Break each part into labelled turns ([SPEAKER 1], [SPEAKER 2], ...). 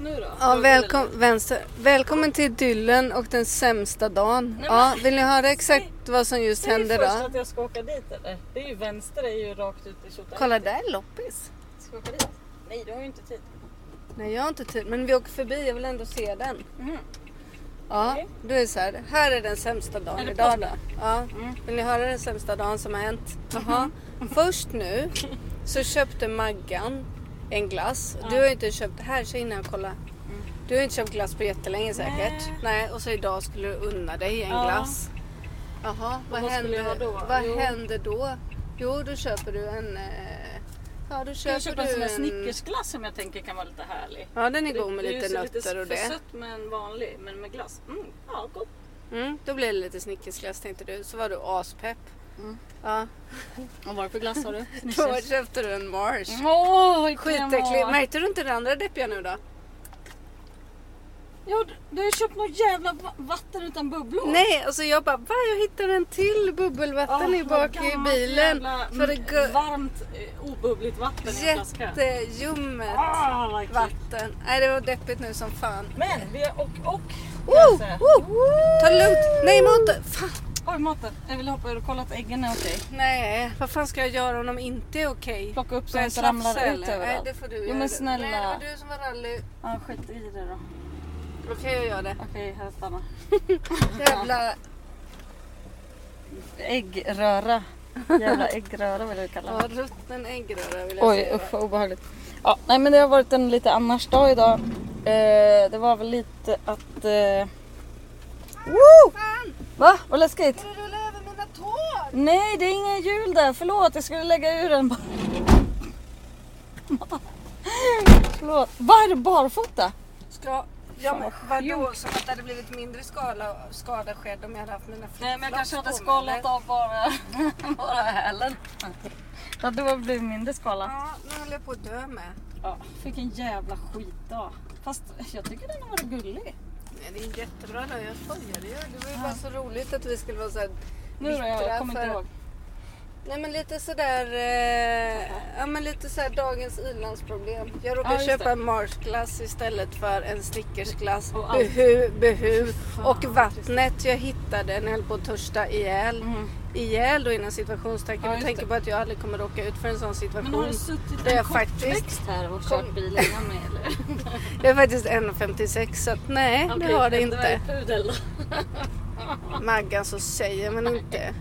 [SPEAKER 1] nu då?
[SPEAKER 2] Ja, välkom vänster. Välkommen till Dyllen och den sämsta dagen.
[SPEAKER 1] Nej,
[SPEAKER 2] Ja, vill ni höra exakt vad som just
[SPEAKER 1] Säg
[SPEAKER 2] hände
[SPEAKER 1] först
[SPEAKER 2] då?
[SPEAKER 1] att jag ska åka dit eller? Det är ju vänster är ju rakt ut i Tjotahejti.
[SPEAKER 2] Kolla där är loppis.
[SPEAKER 1] Ska vi åka dit? Nej, du har ju inte tid.
[SPEAKER 2] Nej, jag har inte tid. Men vi åker förbi, jag vill ändå se den.
[SPEAKER 1] Mhm.
[SPEAKER 2] Ja,
[SPEAKER 1] Okej.
[SPEAKER 2] då är det så här. Här är den sämsta
[SPEAKER 1] Är
[SPEAKER 2] dagen
[SPEAKER 1] det
[SPEAKER 2] idag då.
[SPEAKER 1] påstått?
[SPEAKER 2] Ja.
[SPEAKER 1] Mm.
[SPEAKER 2] Vill ni höra den sämsta dagen som har hänt? Jaha. Först nu så köpte Maggan en glass. Du har ju inte köpt, här så innan jag kollar. Du har inte köpt glass på jättelänge säkert.
[SPEAKER 1] Mm. Nej.
[SPEAKER 2] Nej. och så idag skulle du unna dig en
[SPEAKER 1] Ja.
[SPEAKER 2] glass. Jaha, vad,
[SPEAKER 1] vad skulle
[SPEAKER 2] händer,
[SPEAKER 1] jag då?
[SPEAKER 2] vad
[SPEAKER 1] Jo.
[SPEAKER 2] händer då? Jo, då köper du en... eh, Ja, då
[SPEAKER 1] Ska
[SPEAKER 2] köper
[SPEAKER 1] jag köpa en
[SPEAKER 2] du
[SPEAKER 1] sån här Snickersglass som jag tänker kan vara lite härlig?
[SPEAKER 2] Ja, den är god med
[SPEAKER 1] det,
[SPEAKER 2] lite
[SPEAKER 1] det är ju så
[SPEAKER 2] nötter och
[SPEAKER 1] Lite
[SPEAKER 2] det.
[SPEAKER 1] för sött med en vanlig, men med glass. Mm, ja, gott.
[SPEAKER 2] Mm, då blir det lite snickersglass tänkte du. Så var du aspepp.
[SPEAKER 1] Mm.
[SPEAKER 2] Ja.
[SPEAKER 1] Och vad för glass har du?
[SPEAKER 2] Då köpte du en Mars.
[SPEAKER 1] Mm. Åh,
[SPEAKER 2] Skitäcklig. Märkte du inte den andra deppiga nu då?
[SPEAKER 1] Ja, du- du har ju köpt något jävla va- vatten utan bubblor.
[SPEAKER 2] Nej, alltså jag bara va? Jag hittade en till bubbelvatten
[SPEAKER 1] Åh,
[SPEAKER 2] i
[SPEAKER 1] vad
[SPEAKER 2] bak i
[SPEAKER 1] gammalt
[SPEAKER 2] bilen.
[SPEAKER 1] jävla
[SPEAKER 2] För det
[SPEAKER 1] m-
[SPEAKER 2] går
[SPEAKER 1] Varmt eh, obubbligt vatten i en flaska.
[SPEAKER 2] jättejummet
[SPEAKER 1] Ah, vad äckligt.
[SPEAKER 2] vatten. Nej, det var deppigt nu som fan.
[SPEAKER 1] Men vi har och och. kan jag
[SPEAKER 2] Oh,
[SPEAKER 1] säga.
[SPEAKER 2] oh, ta det lugnt. Nej, motor. Fan.
[SPEAKER 1] Oj maten, jag vill hoppa ur och kolla att äggen är okej.
[SPEAKER 2] Nej, vad fan ska jag göra om de inte är okej?
[SPEAKER 1] Plocka upp så
[SPEAKER 2] Får jag
[SPEAKER 1] att det ramlar
[SPEAKER 2] slafsa,
[SPEAKER 1] ut
[SPEAKER 2] eller? Nej,
[SPEAKER 1] överallt.
[SPEAKER 2] det får du
[SPEAKER 1] Jo,
[SPEAKER 2] göra.
[SPEAKER 1] men snälla.
[SPEAKER 2] Nej, det var du som var rally.
[SPEAKER 1] Ja, skit i det då.
[SPEAKER 2] Okej, jag gör det.
[SPEAKER 1] Okej, här stannar.
[SPEAKER 2] Jävla...
[SPEAKER 1] Äggröra. Jävla äggröra vill jag kalla
[SPEAKER 2] Ja, rutten äggröra vill jag
[SPEAKER 1] Oj
[SPEAKER 2] säga.
[SPEAKER 1] usch vad obehagligt. Ja, nej men det har varit en lite annars dag idag. Eh, det var väl lite att... Eh... Woo!
[SPEAKER 2] Fan,
[SPEAKER 1] Va? Vad läskigt.
[SPEAKER 2] du rullar över mina tår!
[SPEAKER 1] Nej det är inga hjul där, förlåt jag skulle lägga ur den bara. förlåt. Vad är det barfota?
[SPEAKER 2] Ska... Ja, men vadå? Som att det hade blivit mindre skala, skada skedd om jag hade haft mina flipflops
[SPEAKER 1] Nej men jag kanske hade
[SPEAKER 2] på mig,
[SPEAKER 1] skalat
[SPEAKER 2] eller?
[SPEAKER 1] av bara, bara hälen. Ja, det var blivit mindre skalat.
[SPEAKER 2] Ja, nu håller jag på att dö med.
[SPEAKER 1] Ja, fick en jävla skitdag. Fast jag tycker den har varit gullig.
[SPEAKER 2] Nej, det är jättebra då. Jag skojade ju. Det var ju bara så roligt att vi skulle vara så här
[SPEAKER 1] Nu då, jag
[SPEAKER 2] bittra
[SPEAKER 1] kommer
[SPEAKER 2] för-
[SPEAKER 1] inte ihåg.
[SPEAKER 2] Nej men lite sådär, eh, ja men lite sådär dagens i-landsproblem. Jag råkade
[SPEAKER 1] Ja, just
[SPEAKER 2] köpa
[SPEAKER 1] det.
[SPEAKER 2] en Marsglass istället för en Snickersglass.
[SPEAKER 1] Och allt.
[SPEAKER 2] Buhu, buhu.
[SPEAKER 1] Fan,
[SPEAKER 2] Och vattnet jag hittade när jag höll på att törsta ihjäl.
[SPEAKER 1] Mm.
[SPEAKER 2] Ihjäl då innan situationstecken.
[SPEAKER 1] Ja,
[SPEAKER 2] Jag
[SPEAKER 1] just
[SPEAKER 2] tänker
[SPEAKER 1] det.
[SPEAKER 2] på att jag aldrig kommer råka ut för en sån
[SPEAKER 1] Men
[SPEAKER 2] situation.
[SPEAKER 1] har du suttit
[SPEAKER 2] Det
[SPEAKER 1] i
[SPEAKER 2] är
[SPEAKER 1] en
[SPEAKER 2] faktiskt-
[SPEAKER 1] kortväxt här och kört bil innan mig eller?
[SPEAKER 2] Jag är faktiskt 1,56 så att nej
[SPEAKER 1] Okej,
[SPEAKER 2] det har det
[SPEAKER 1] men var
[SPEAKER 2] inte.
[SPEAKER 1] ju pudel.
[SPEAKER 2] Maggan så säger man inte.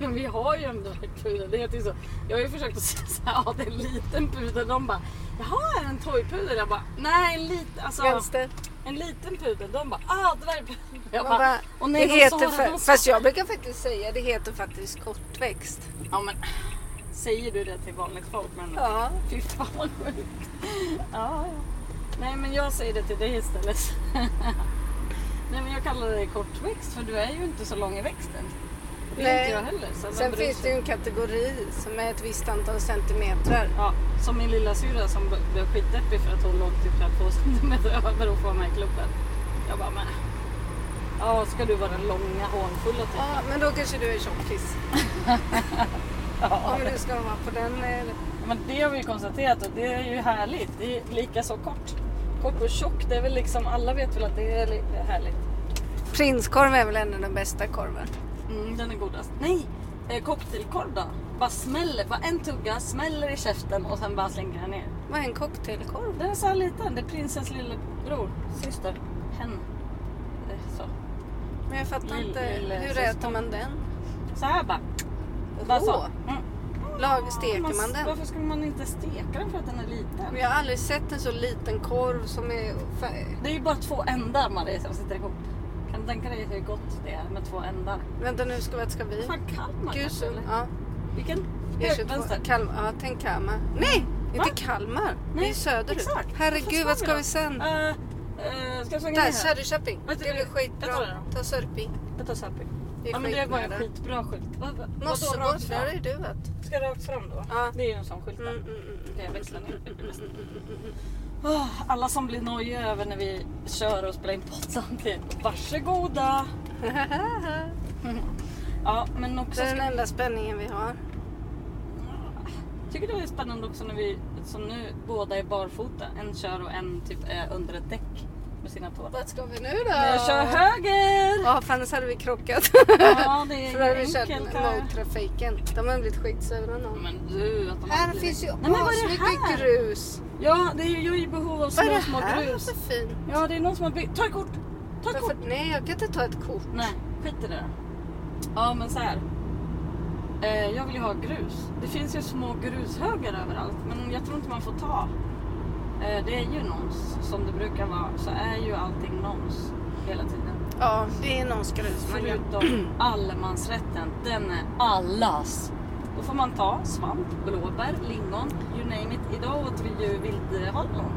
[SPEAKER 1] Men vi har ju ändå en pudel. Det heter ju så. Jag har ju försökt att säga såhär, ja det är en liten pudel. De bara, jaha är det en toypudel? Jag bara, nej en liten, alltså,
[SPEAKER 2] Vänster.
[SPEAKER 1] en liten pudel. De bara, ah dvärgpudel. Jag
[SPEAKER 2] Man
[SPEAKER 1] bara,
[SPEAKER 2] bara,
[SPEAKER 1] "Åh,
[SPEAKER 2] det
[SPEAKER 1] nej, de sa
[SPEAKER 2] heter
[SPEAKER 1] det, de
[SPEAKER 2] fa-
[SPEAKER 1] sa
[SPEAKER 2] fast jag brukar faktiskt säga det heter faktiskt kortväxt.
[SPEAKER 1] Ja men säger du det till vanligt folk? Men
[SPEAKER 2] Ja.
[SPEAKER 1] fy fan vad sjukt. Ja, ja. Nej men jag säger det till dig istället. Nej men jag kallar dig kortväxt för du är ju inte så lång i växten. Det är
[SPEAKER 2] Nej.
[SPEAKER 1] inte jag heller. Så vem
[SPEAKER 2] Sen
[SPEAKER 1] bryr
[SPEAKER 2] finns det
[SPEAKER 1] sig?
[SPEAKER 2] ju en kategori som är ett visst antal centimeter.
[SPEAKER 1] Ja, som min lilla syra som b- blev skitdeppig för att hon låg typ såhär två centimeter över och få mig i klubben. Jag bara men. Ja, ska du vara den långa hånfulla typ?
[SPEAKER 2] Ja, men då kanske du är tjockis.
[SPEAKER 1] Ja.
[SPEAKER 2] Om du ska vara på den. eh,
[SPEAKER 1] Men det har vi ju konstaterat och det är ju härligt. Det är lika så kort. Kort och tjock, det är väl liksom, alla vet väl att det är li- härligt.
[SPEAKER 2] Prinskorv är väl ändå den bästa korven.
[SPEAKER 1] Mm, den är godast. Nej! Eh, cocktailkorv då? Bara smäller, bara en tugga, smäller i käften och sen bara slänger jag ner.
[SPEAKER 2] Vad är en cocktailkorv?
[SPEAKER 1] Den är så här liten, det är prinsens lillebror, syster, hen. Det är Så.
[SPEAKER 2] Men jag fattar
[SPEAKER 1] Lill-
[SPEAKER 2] inte.
[SPEAKER 1] lille
[SPEAKER 2] Hur
[SPEAKER 1] syster.
[SPEAKER 2] äter man den?
[SPEAKER 1] så här bara. bara så.
[SPEAKER 2] Åh,
[SPEAKER 1] Mm.
[SPEAKER 2] Lag, steker
[SPEAKER 1] Man-
[SPEAKER 2] man den?
[SPEAKER 1] Varför skulle man inte steka den för att den är liten?
[SPEAKER 2] Men jag har aldrig sett en så liten korv som är... fa-
[SPEAKER 1] Det är ju bara två ändar Marie som sitter ihop. Kan du tänka dig hur gott det är med två ändar?
[SPEAKER 2] Vänta nu, ska, vad ska vi?
[SPEAKER 1] Fan Kalmar
[SPEAKER 2] Gud,
[SPEAKER 1] kanske?
[SPEAKER 2] så,
[SPEAKER 1] Eller?
[SPEAKER 2] ja,
[SPEAKER 1] Vilken? Höger, vänster?
[SPEAKER 2] E22. Kalmar. Ja, tänk Kalmar. Nej!
[SPEAKER 1] Va?
[SPEAKER 2] Inte Kalmar. Det
[SPEAKER 1] Nej,
[SPEAKER 2] är söderut.
[SPEAKER 1] exakt.
[SPEAKER 2] Herregud, vad ska vi
[SPEAKER 1] Uh,
[SPEAKER 2] sen?
[SPEAKER 1] eh, ska jag svänga
[SPEAKER 2] Mm. Där,
[SPEAKER 1] ner här?
[SPEAKER 2] Söderköping. Det
[SPEAKER 1] Vet du,
[SPEAKER 2] blir
[SPEAKER 1] jag- jag tar den
[SPEAKER 2] skitbra.
[SPEAKER 1] då.
[SPEAKER 2] Ta Sörping.
[SPEAKER 1] Jag tar Säpi.
[SPEAKER 2] Det är
[SPEAKER 1] Ja men det var en
[SPEAKER 2] skitnära.
[SPEAKER 1] skitbra skylt. Vad- vad- vadå
[SPEAKER 2] Nossebåt,
[SPEAKER 1] rakt
[SPEAKER 2] där
[SPEAKER 1] fram?
[SPEAKER 2] är du vet.
[SPEAKER 1] Ska rakt fram då?
[SPEAKER 2] Ja.
[SPEAKER 1] Det är ju en sån skylt. där.
[SPEAKER 2] Mm, mm, mm.
[SPEAKER 1] Okej, jag växlar ner. Åh, Alla som blir nojiga över när vi kör och spelar in podd samtidigt. Varsågoda! Ja men också...
[SPEAKER 2] Det är den
[SPEAKER 1] Ska...
[SPEAKER 2] enda spänningen vi har.
[SPEAKER 1] tycker det är spännande också när vi, som nu, båda är barfota. En kör och en typ är under ett däck med sina tår.
[SPEAKER 2] Vart ska vi nu då?
[SPEAKER 1] Jag kör höger!
[SPEAKER 2] Ja, för annars hade vi krockat.
[SPEAKER 1] Ja, det
[SPEAKER 2] För då hade
[SPEAKER 1] är
[SPEAKER 2] vi
[SPEAKER 1] ju
[SPEAKER 2] kört
[SPEAKER 1] enkelt här.
[SPEAKER 2] mot trafiken. De har blivit skitsura nu.
[SPEAKER 1] Men du, att de
[SPEAKER 2] Här
[SPEAKER 1] alltid-
[SPEAKER 2] finns ju
[SPEAKER 1] Nej, men vad är det här?
[SPEAKER 2] asmycket grus.
[SPEAKER 1] Ja, det är ju, jag är i behov av
[SPEAKER 2] Vad är
[SPEAKER 1] små,
[SPEAKER 2] det
[SPEAKER 1] små
[SPEAKER 2] här
[SPEAKER 1] grus.
[SPEAKER 2] Josefin?
[SPEAKER 1] Ja, det är någon som har byggt... Ta ett kort! Ta ett
[SPEAKER 2] Varför?
[SPEAKER 1] kort!
[SPEAKER 2] Nej, jag kan inte ta ett kort.
[SPEAKER 1] Nej, skit i det då. Ja, men så här. Eh, jag vill ju ha grus. Det finns ju små grushögar överallt, men jag tror inte man får ta. Eh, det är ju nons, som det brukar vara, så är ju allting nons hela tiden.
[SPEAKER 2] Ja, det är någons grus. man gör.
[SPEAKER 1] Förutom allemansrätten, den är allas. Då får man ta svamp, blåbär, lingon, you name it. Idag åt vi ju vildhallon.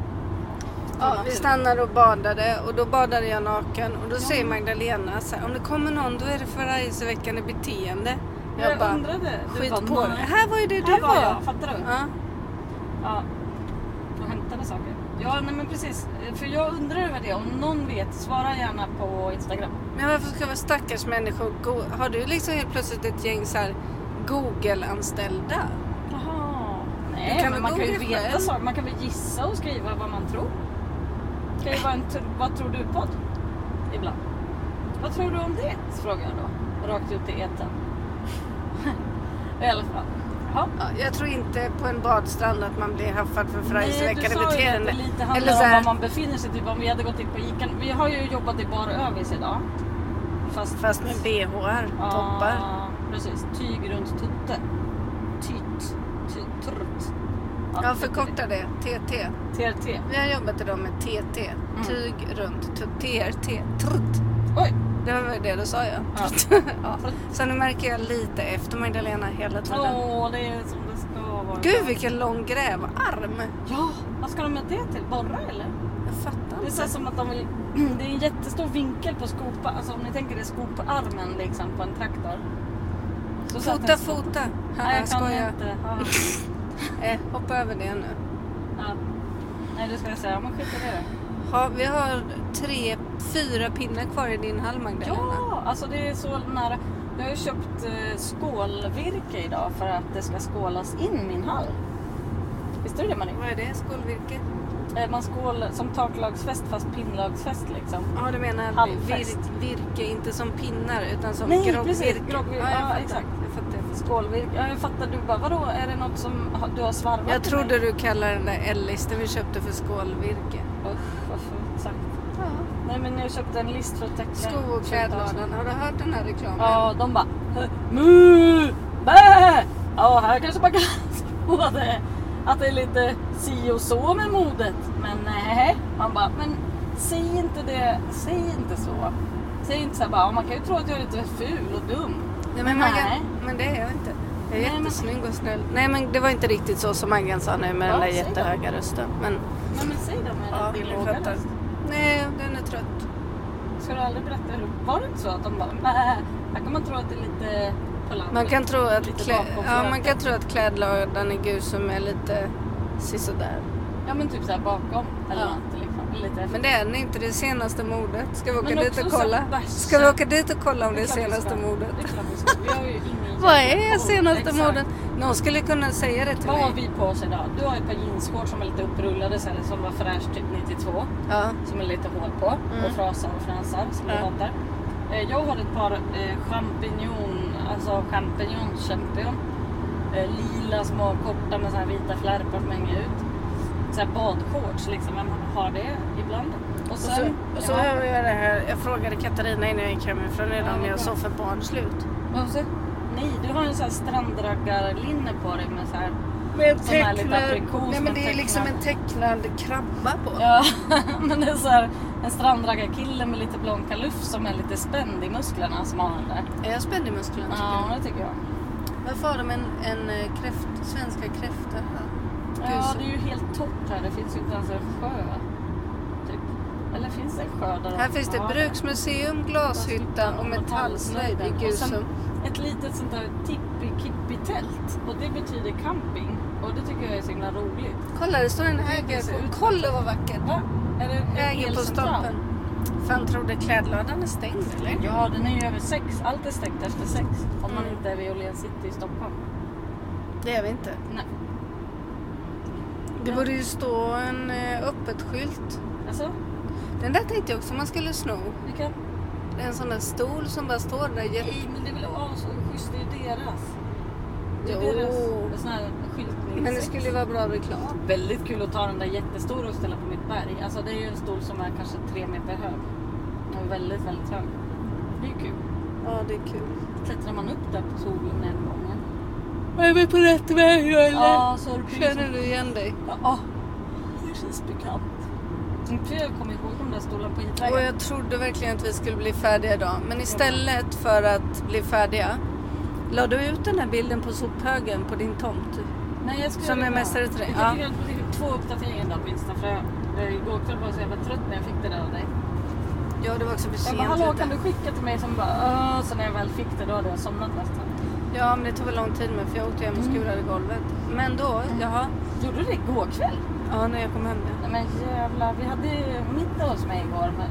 [SPEAKER 2] Ja, vi stannade och badade och då badade jag naken och då säger Magdalena så här, om det kommer någon då är det förargelseväckande beteende. Jag,
[SPEAKER 1] Jag
[SPEAKER 2] bara,
[SPEAKER 1] undrade. Du
[SPEAKER 2] skit
[SPEAKER 1] bara,
[SPEAKER 2] på
[SPEAKER 1] nej.
[SPEAKER 2] det. Här var ju det du
[SPEAKER 1] Här var
[SPEAKER 2] var.
[SPEAKER 1] jag, fattar du?
[SPEAKER 2] Ja.
[SPEAKER 1] Ja, och hämtade saker. Ja, nej men precis. För jag undrar över det. Om någon vet, svara gärna på Instagram.
[SPEAKER 2] Men varför ska vara stackars människor go- Har du liksom helt plötsligt ett gäng så här Google-anställda?
[SPEAKER 1] Jaha.
[SPEAKER 2] Du
[SPEAKER 1] Nej, men
[SPEAKER 2] kan väl
[SPEAKER 1] man kan ju
[SPEAKER 2] googla
[SPEAKER 1] veta
[SPEAKER 2] själv.
[SPEAKER 1] saker. Man kan väl gissa och skriva vad man tror. Det kan ju vara en tr- vad tror du-podd. Ibland. Vad tror du om det? Frågar jag då. Rakt ut i etern. I alla fall. Jaha.
[SPEAKER 2] Ja, jag tror inte på en badstrand att man blir haffad för
[SPEAKER 1] Nej, du
[SPEAKER 2] förargelseväckande
[SPEAKER 1] sa ju att det
[SPEAKER 2] beteende.
[SPEAKER 1] lite handlar
[SPEAKER 2] Eller så här,
[SPEAKER 1] om var man befinner sig. Typ om vi hade gått in på Ica. Vi har ju jobbat i Bar Övis idag. Fast
[SPEAKER 2] fast med bhar, toppar.
[SPEAKER 1] Ja, precis. Tyg runt tutte. Tytt. Ty, trut.
[SPEAKER 2] Ja, förkorta det. TT.
[SPEAKER 1] TRT.
[SPEAKER 2] Vi har jobbat idag med TT.
[SPEAKER 1] Mm.
[SPEAKER 2] Tyg runt. tut- TRT. Trutt.
[SPEAKER 1] Oj!
[SPEAKER 2] Det var väl det du sa ja.
[SPEAKER 1] Ja.
[SPEAKER 2] Trutt. ja. Så nu märker jag lite efter Magdalena hela tiden.
[SPEAKER 1] Åh, det är som det ska vara.
[SPEAKER 2] Gud vilken lång grävarm.
[SPEAKER 1] Ja, vad ska de med det till? Borra eller?
[SPEAKER 2] Jag fattar
[SPEAKER 1] Det är så här
[SPEAKER 2] inte.
[SPEAKER 1] som att de vill... Det är en jättestor vinkel på skopa. Alltså om ni tänker er skoparmen liksom på en traktor. Så satt
[SPEAKER 2] Fota,
[SPEAKER 1] en skopa-
[SPEAKER 2] fota.
[SPEAKER 1] Nej,
[SPEAKER 2] Haha,
[SPEAKER 1] jag kan
[SPEAKER 2] skojar.
[SPEAKER 1] inte. Ja.
[SPEAKER 2] Eh, hoppa över det nu.
[SPEAKER 1] Ja. Nej, det ska jag säga. Man skiter i det.
[SPEAKER 2] Ha, vi har tre, fyra pinnar kvar i din hall Magdalena.
[SPEAKER 1] Ja, alltså det är så nära. Jag har ju köpt eh, skålvirke idag för att det ska skålas in min hall. Visste du det Marie?
[SPEAKER 2] Vad är det? Skolvirke?
[SPEAKER 1] Eh, man skål som taklagsfest fast pinnlagsfest liksom.
[SPEAKER 2] Ja du menar
[SPEAKER 1] Halvfest.
[SPEAKER 2] vir, virke, inte som pinnar utan som
[SPEAKER 1] Nej,
[SPEAKER 2] groggvirke.
[SPEAKER 1] precis, groggvirke.
[SPEAKER 2] Ja, jag
[SPEAKER 1] Ja,
[SPEAKER 2] fattar.
[SPEAKER 1] exakt.
[SPEAKER 2] Jag, fattar.
[SPEAKER 1] Skålvirke. Ja, jag fattar. Du bara, vadå? Är det något som ha- du har svarvat
[SPEAKER 2] jag
[SPEAKER 1] till
[SPEAKER 2] trodde
[SPEAKER 1] mig?
[SPEAKER 2] du kallade den där L-listen vi köpte för skålvirke.
[SPEAKER 1] Usch, vad fult sagt.
[SPEAKER 2] Ja.
[SPEAKER 1] Nej, men jag köpte en list för att täcka...
[SPEAKER 2] Sko och klädladan, har du hört den här reklamen?
[SPEAKER 1] Ja, de bara... Mu! Bä! Ja, här kanske man kan tro att det, att det är lite si och så med modet. Men nej, man bara, men säg inte det, säg inte så. Säg inte så här bara, "Ja, man kan ju tro att jag är lite ful och dum.
[SPEAKER 2] Nej, men,
[SPEAKER 1] Nej.
[SPEAKER 2] Maggan, men det är jag inte. Jag
[SPEAKER 1] Nej,
[SPEAKER 2] är
[SPEAKER 1] men-
[SPEAKER 2] jättesnygg och snäll. Nej men det var inte riktigt så som Maggan sa nu med
[SPEAKER 1] Ja,
[SPEAKER 2] den där
[SPEAKER 1] säg då.
[SPEAKER 2] jättehöga rösten. Men
[SPEAKER 1] Nej men säg det med
[SPEAKER 2] ja,
[SPEAKER 1] ja, din
[SPEAKER 2] jag
[SPEAKER 1] låga
[SPEAKER 2] fattar.
[SPEAKER 1] röst.
[SPEAKER 2] Nej, den är trött.
[SPEAKER 1] Ska du aldrig berätta hur Var det inte så att de bara, "Bä." här kan man tro att det är lite på landet.
[SPEAKER 2] Man kan tro att,
[SPEAKER 1] Lite
[SPEAKER 2] klä...
[SPEAKER 1] bakom
[SPEAKER 2] ja, man
[SPEAKER 1] flötet.
[SPEAKER 2] kan tro att klädladan är Gusum är lite sisådär.
[SPEAKER 1] Ja men typ så här bakom eller
[SPEAKER 2] Ja.
[SPEAKER 1] något liksom. Lite
[SPEAKER 2] Men det är den inte, det är senaste modet. Ska vi åka
[SPEAKER 1] Men
[SPEAKER 2] dit
[SPEAKER 1] också
[SPEAKER 2] och
[SPEAKER 1] så
[SPEAKER 2] kolla?
[SPEAKER 1] här bärs.
[SPEAKER 2] Ska vi åka dit och kolla om det är
[SPEAKER 1] klart vi
[SPEAKER 2] senaste
[SPEAKER 1] ska.
[SPEAKER 2] modet?
[SPEAKER 1] Det är klart vi ska. Vi har ju ingen
[SPEAKER 2] Vad
[SPEAKER 1] jävla
[SPEAKER 2] är
[SPEAKER 1] koll.
[SPEAKER 2] senaste
[SPEAKER 1] Exakt.
[SPEAKER 2] modet? Någon skulle kunna säga det till
[SPEAKER 1] Vad har
[SPEAKER 2] mig.
[SPEAKER 1] vi på oss idag? Du har ett par jeansshorts som är lite upprullade så här, som var fräscht typ 92.
[SPEAKER 2] Ja.
[SPEAKER 1] Som är lite hål på. Och frasar och fransar som jag
[SPEAKER 2] Mm. Ja.
[SPEAKER 1] hatar. Eh, Jag har ett par eh, champignon, alltså champignon, champignon. Eh, lila små korta med så här vita flärpar som hänger ut. Så här badshorts liksom, vem har det ibland? Och
[SPEAKER 2] Och så,
[SPEAKER 1] sen,
[SPEAKER 2] och så
[SPEAKER 1] ja.
[SPEAKER 2] har jag det här, jag frågade Katarina innan jag gick hemifrån
[SPEAKER 1] Ja,
[SPEAKER 2] idag om
[SPEAKER 1] vad
[SPEAKER 2] jag
[SPEAKER 1] bra.
[SPEAKER 2] såg för barnslut.
[SPEAKER 1] Och så, nej, du har en sån här strandraggarlinne på dig med så här
[SPEAKER 2] Men
[SPEAKER 1] Sån här lite aprikos
[SPEAKER 2] Nej
[SPEAKER 1] med
[SPEAKER 2] men det är liksom en tecknad krabba på.
[SPEAKER 1] Ja, men det är så här, en strandraggarkille med lite blond kalufs som är lite spänd i musklerna som har den där.
[SPEAKER 2] Är jag spänd i musklerna tycker
[SPEAKER 1] Ja, det tycker jag.
[SPEAKER 2] du? Varför har de en, en eh, kräft, svenska kräftor här?
[SPEAKER 1] Ja, det är ju helt torrt här. Det finns ju inte ens en sjö. Typ. Eller finns det en sjö där? de
[SPEAKER 2] Här finns det
[SPEAKER 1] har
[SPEAKER 2] bruksmuseum, glashyttan och metallslöjd i
[SPEAKER 1] Och sen
[SPEAKER 2] Gusum.
[SPEAKER 1] ett litet sånt där tippi-kippi-tält. Och det betyder camping. Och det tycker jag är så himla roligt.
[SPEAKER 2] Kolla, det står en ägare
[SPEAKER 1] ser ut.
[SPEAKER 2] på. Kolla vad vackert!
[SPEAKER 1] Va? Är det en
[SPEAKER 2] Ägare på
[SPEAKER 1] elcentral?
[SPEAKER 2] stolpen. Fan, tror du klädladan är stängd eller?
[SPEAKER 1] Ja, den är ju över sex. Allt är stängt efter sex. Om man
[SPEAKER 2] Mm.
[SPEAKER 1] inte är vid Åhléns City i Stockholm.
[SPEAKER 2] Det är vi inte.
[SPEAKER 1] Nej.
[SPEAKER 2] Det borde ju stå en eh, öppet skylt.
[SPEAKER 1] Alltså,
[SPEAKER 2] Den där tänkte jag också man skulle sno.
[SPEAKER 1] vilka?
[SPEAKER 2] Det är en sån där stol som bara står där. jätte-
[SPEAKER 1] Nej, men det är väl asschysst, det är ju deras. Det är
[SPEAKER 2] Jo.
[SPEAKER 1] deras sån här skyltning.
[SPEAKER 2] Men det skulle ju vara bra reklam.
[SPEAKER 1] Väldigt kul att ta den där jättestora och ställa på mitt berg. Alltså det är ju en stol som är kanske tre meter hög. Och väldigt, väldigt hög. Det är ju kul.
[SPEAKER 2] Ja, det är kul.
[SPEAKER 1] Klättrar man upp där på solen den gången.
[SPEAKER 2] Är vi på rätt väg eller?
[SPEAKER 1] Ja, så har du precis...
[SPEAKER 2] Känner du igen dig?
[SPEAKER 1] Ja. Det känns bekant. Inte för jag kommer ihåg de där stolarna på
[SPEAKER 2] Och
[SPEAKER 1] hitvägen.
[SPEAKER 2] jag trodde verkligen att vi skulle bli färdiga idag. Men istället för att bli färdiga la du ut den här bilden på sophögen på din tomt.
[SPEAKER 1] Nej, jag skulle
[SPEAKER 2] Som
[SPEAKER 1] göra
[SPEAKER 2] är
[SPEAKER 1] det här.
[SPEAKER 2] mästare i trä.
[SPEAKER 1] Jag tycker att det är två uppdateringar idag på Insta. För jag, jag, igår kväll var jag så jävla trött när jag fick det där av dig.
[SPEAKER 2] Ja, det var också för
[SPEAKER 1] Jag
[SPEAKER 2] sent.
[SPEAKER 1] bara, hallå
[SPEAKER 2] ute.
[SPEAKER 1] kan du skicka till mig? Som bara, "Åh", så när jag väl fick det då hade jag somnat nästan.
[SPEAKER 2] Ja, men det tog väl lång tid med för jag åkte hem och skurade golvet. Men då, jaha.
[SPEAKER 1] Gjorde du det igår kväll?
[SPEAKER 2] Ja, när jag kom hem ja.
[SPEAKER 1] Nej men jävlar, vi hade ju middag hos mig igår med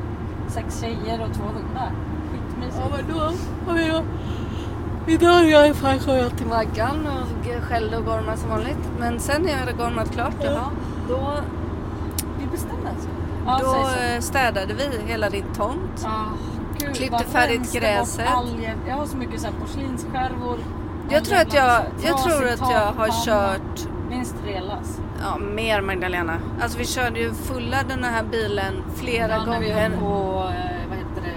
[SPEAKER 1] sex tjejer och två hundar. Skitmysigt.
[SPEAKER 2] men då har vi då... Idag har jag fan sköt till Maggan och g- skällde och gormade som vanligt. Men sen när jag hade gormat klart, jaha.
[SPEAKER 1] Då... Vi bestämde alltså. Ja,
[SPEAKER 2] Då
[SPEAKER 1] säg så.
[SPEAKER 2] eh, städade vi hela din tomt.
[SPEAKER 1] Ah, gud,
[SPEAKER 2] klippte
[SPEAKER 1] vad
[SPEAKER 2] färdigt
[SPEAKER 1] hemskt det
[SPEAKER 2] gräset.
[SPEAKER 1] var på all jä- Jag har så mycket så här porslinsskärvor.
[SPEAKER 2] Jag tror att jag, jag, tror att jag har
[SPEAKER 1] kört
[SPEAKER 2] kört
[SPEAKER 1] Minst tre lass.
[SPEAKER 2] ja, mer Magdalena. Alltså vi körde ju fulla den här bilen flera
[SPEAKER 1] Ja, när vi
[SPEAKER 2] gånger.
[SPEAKER 1] höll på, eh, vad heter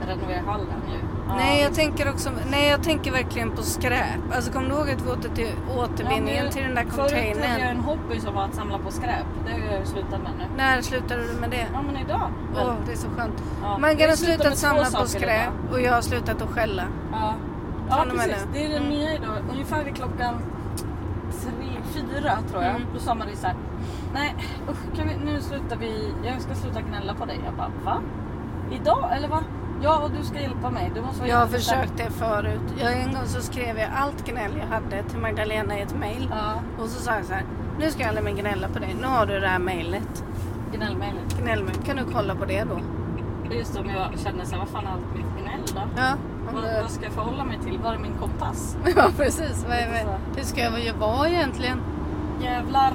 [SPEAKER 1] det, renovera hallen ju. Ja,
[SPEAKER 2] Nej jag, tänker också, nej jag tänker verkligen på skräp. Alltså kommer du ihåg att vi åkte till återvinningen
[SPEAKER 1] men
[SPEAKER 2] till den där
[SPEAKER 1] Förut hade jag
[SPEAKER 2] containern?
[SPEAKER 1] en hobby som var att samla på skräp. Det har jag ju slutat med nu.
[SPEAKER 2] När slutade du med det?
[SPEAKER 1] Ja men idag.
[SPEAKER 2] Åh,
[SPEAKER 1] väl.
[SPEAKER 2] det är så skönt.
[SPEAKER 1] Ja, jag
[SPEAKER 2] Maggan har
[SPEAKER 1] slutar med
[SPEAKER 2] slutat
[SPEAKER 1] två
[SPEAKER 2] samla på
[SPEAKER 1] saker
[SPEAKER 2] skräp
[SPEAKER 1] idag.
[SPEAKER 2] och jag har slutat att skälla.
[SPEAKER 1] Ja, ja
[SPEAKER 2] Från och med
[SPEAKER 1] precis.
[SPEAKER 2] nu.
[SPEAKER 1] Det är det nya idag. Ungefär vid klockan tre, fyra tror jag.
[SPEAKER 2] Mm.
[SPEAKER 1] Då sa Marie såhär. Nej usch, kan vi, nu slutar vi. Jag ska sluta gnälla på dig. Jag bara va? Idag eller va? Ja och du ska hjälpa mig. Du måste vara
[SPEAKER 2] Jag har
[SPEAKER 1] jättebestämd."
[SPEAKER 2] försökt det förut. Jag, en gång så skrev jag allt gnäll jag hade till Magdalena i ett mail.
[SPEAKER 1] Ja,
[SPEAKER 2] Och så sa jag så här. Nu ska jag aldrig mer gnälla på dig. Nu har du det här mailet.
[SPEAKER 1] gnällmejlet.
[SPEAKER 2] Gnällmail. Kan du kolla på det då?
[SPEAKER 1] Det är Just om jag känner såhär, vad fan är allt mitt gnäll då?
[SPEAKER 2] Ja.
[SPEAKER 1] Vad, vad ska jag förhålla mig till? Var är min kompass?
[SPEAKER 2] Ja precis. Vad är, vad- hur ska jag ju vara egentligen?
[SPEAKER 1] Jävlar!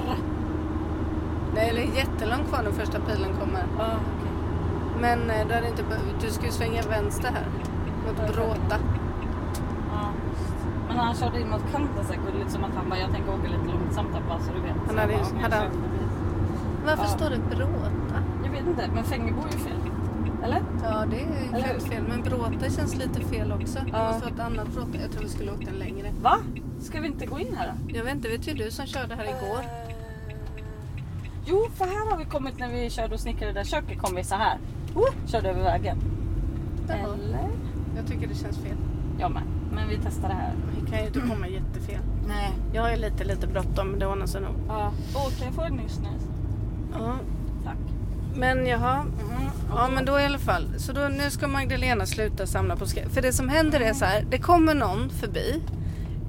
[SPEAKER 2] Nej det är jättelångt kvar när första pilen kommer.
[SPEAKER 1] Ja, okej.
[SPEAKER 2] Men eh, du, hade inte, behövt- du ska ju svänga vänster här. Mot Bråta.
[SPEAKER 1] Ja. Men han körde in mot kanten så här gulligt som att han bara, jag tänker åka lite långsamt där bara så du vet.
[SPEAKER 2] Han hade
[SPEAKER 1] Så jag
[SPEAKER 2] ju-
[SPEAKER 1] bara,
[SPEAKER 2] hade
[SPEAKER 1] "Ja, men
[SPEAKER 2] han-
[SPEAKER 1] kör förbi."
[SPEAKER 2] Varför
[SPEAKER 1] Ja.
[SPEAKER 2] står det Bråta?
[SPEAKER 1] Jag vet inte, men Fängebo är ju fel. Eller?
[SPEAKER 2] Ja det är
[SPEAKER 1] Eller hur?
[SPEAKER 2] helt fel. Men Bråta känns lite fel också. Det
[SPEAKER 1] Ja.
[SPEAKER 2] måste vara ett annat Bråta. Jag tror vi skulle åkt den längre.
[SPEAKER 1] Va? Ska vi inte gå in här då?
[SPEAKER 2] Jag vet inte, vet ju du som körde här igår.
[SPEAKER 1] Eh, Jo, för här har vi kommit när vi körde och snickrade det där köket kom vi så här. Oh, körde över vägen.
[SPEAKER 2] Jaha.
[SPEAKER 1] Eller?
[SPEAKER 2] Jag tycker det känns fel.
[SPEAKER 1] Jag med. Men vi testar det här.
[SPEAKER 2] Vi kan ju inte komma jättefel.
[SPEAKER 1] Nej.
[SPEAKER 2] Jag är lite, lite bråttom men det ordnar sig nog.
[SPEAKER 1] Ja. Åh, kan jag få en ny snus?
[SPEAKER 2] Ja.
[SPEAKER 1] Tack.
[SPEAKER 2] Men jaha.
[SPEAKER 1] Mhm.
[SPEAKER 2] Ja men då i alla fall. Så då, nu ska Magdalena sluta samla på skräp. För det som händer är så här. Det kommer någon förbi.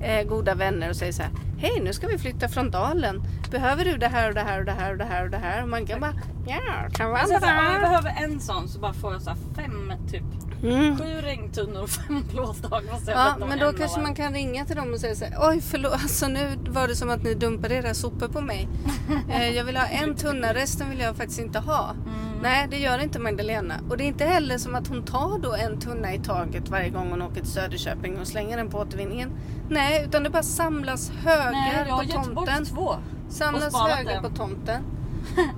[SPEAKER 2] Eh, goda vänner och säger så här. Hej nu ska vi flytta från dalen. Behöver du det här och det här och det här och det här och det här? Och man kan bara. Ja, kan vara
[SPEAKER 1] Alltså,
[SPEAKER 2] det
[SPEAKER 1] så här, om jag
[SPEAKER 2] här.
[SPEAKER 1] behöver en sån så bara får jag så här fem typ.
[SPEAKER 2] Mm.
[SPEAKER 1] Sju regntunnor och fem blåsdag.
[SPEAKER 2] Ja, men då kanske man kan ringa till dem och säga så här, oj förlåt, alltså nu var det som att ni dumpade era sopor på mig. Eh, jag vill ha en tunna, resten vill jag faktiskt inte ha.
[SPEAKER 1] Mm.
[SPEAKER 2] Nej, det gör inte Magdalena. Och det är inte heller som att hon tar då en tunna i taget varje gång hon åker till Söderköping och slänger den på återvinningen. Nej, utan det bara samlas högar
[SPEAKER 1] Nej, jag har
[SPEAKER 2] på
[SPEAKER 1] gett bort
[SPEAKER 2] tomten.
[SPEAKER 1] två. och
[SPEAKER 2] Samlas
[SPEAKER 1] sparat
[SPEAKER 2] högar
[SPEAKER 1] en.
[SPEAKER 2] på tomten.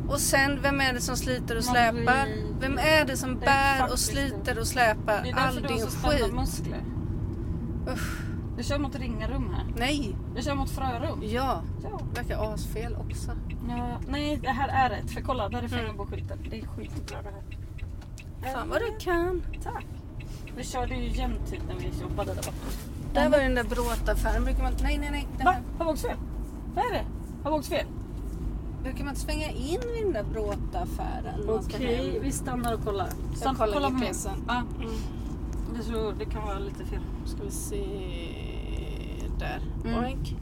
[SPEAKER 2] Och sen, vem är det som sliter och släpar?
[SPEAKER 1] Marie.
[SPEAKER 2] Vem är det som
[SPEAKER 1] Det är
[SPEAKER 2] bär och
[SPEAKER 1] faktiskt det.
[SPEAKER 2] sliter och
[SPEAKER 1] Det
[SPEAKER 2] släpar
[SPEAKER 1] är
[SPEAKER 2] all
[SPEAKER 1] därför du har
[SPEAKER 2] din
[SPEAKER 1] så spända
[SPEAKER 2] skit?
[SPEAKER 1] muskler.
[SPEAKER 2] Usch,
[SPEAKER 1] Jag kör mot ringarum här.
[SPEAKER 2] nej,
[SPEAKER 1] Jag kör mot Frörum.
[SPEAKER 2] ja.
[SPEAKER 1] Ja.
[SPEAKER 2] Verkar asfel också.
[SPEAKER 1] Ja, nej, det här är rätt. För kolla, där är Fängebo-skylten. Det är skitbra det här.
[SPEAKER 2] Mm. Fan vad du kan.
[SPEAKER 1] Tack. Vi körde ju jämnt hit när vi shoppade där borta.
[SPEAKER 2] Där var ju den där bråtaffären. Brukar man, nej, nej, nej. Den
[SPEAKER 1] Va?
[SPEAKER 2] här,
[SPEAKER 1] Har vi åkt fel? Vad är det? Har vi åkt fel?
[SPEAKER 2] Mm, brukar man inte svänga in vid den där bråtaffären? när man ska hem?
[SPEAKER 1] vi Mm, stannar och kollar.
[SPEAKER 2] Jag kollar
[SPEAKER 1] kolla med.
[SPEAKER 2] GPSen.
[SPEAKER 1] Ja, jag tror det kan vara lite fel.
[SPEAKER 2] Ska vi se. Där.
[SPEAKER 1] Mm.
[SPEAKER 2] Oink.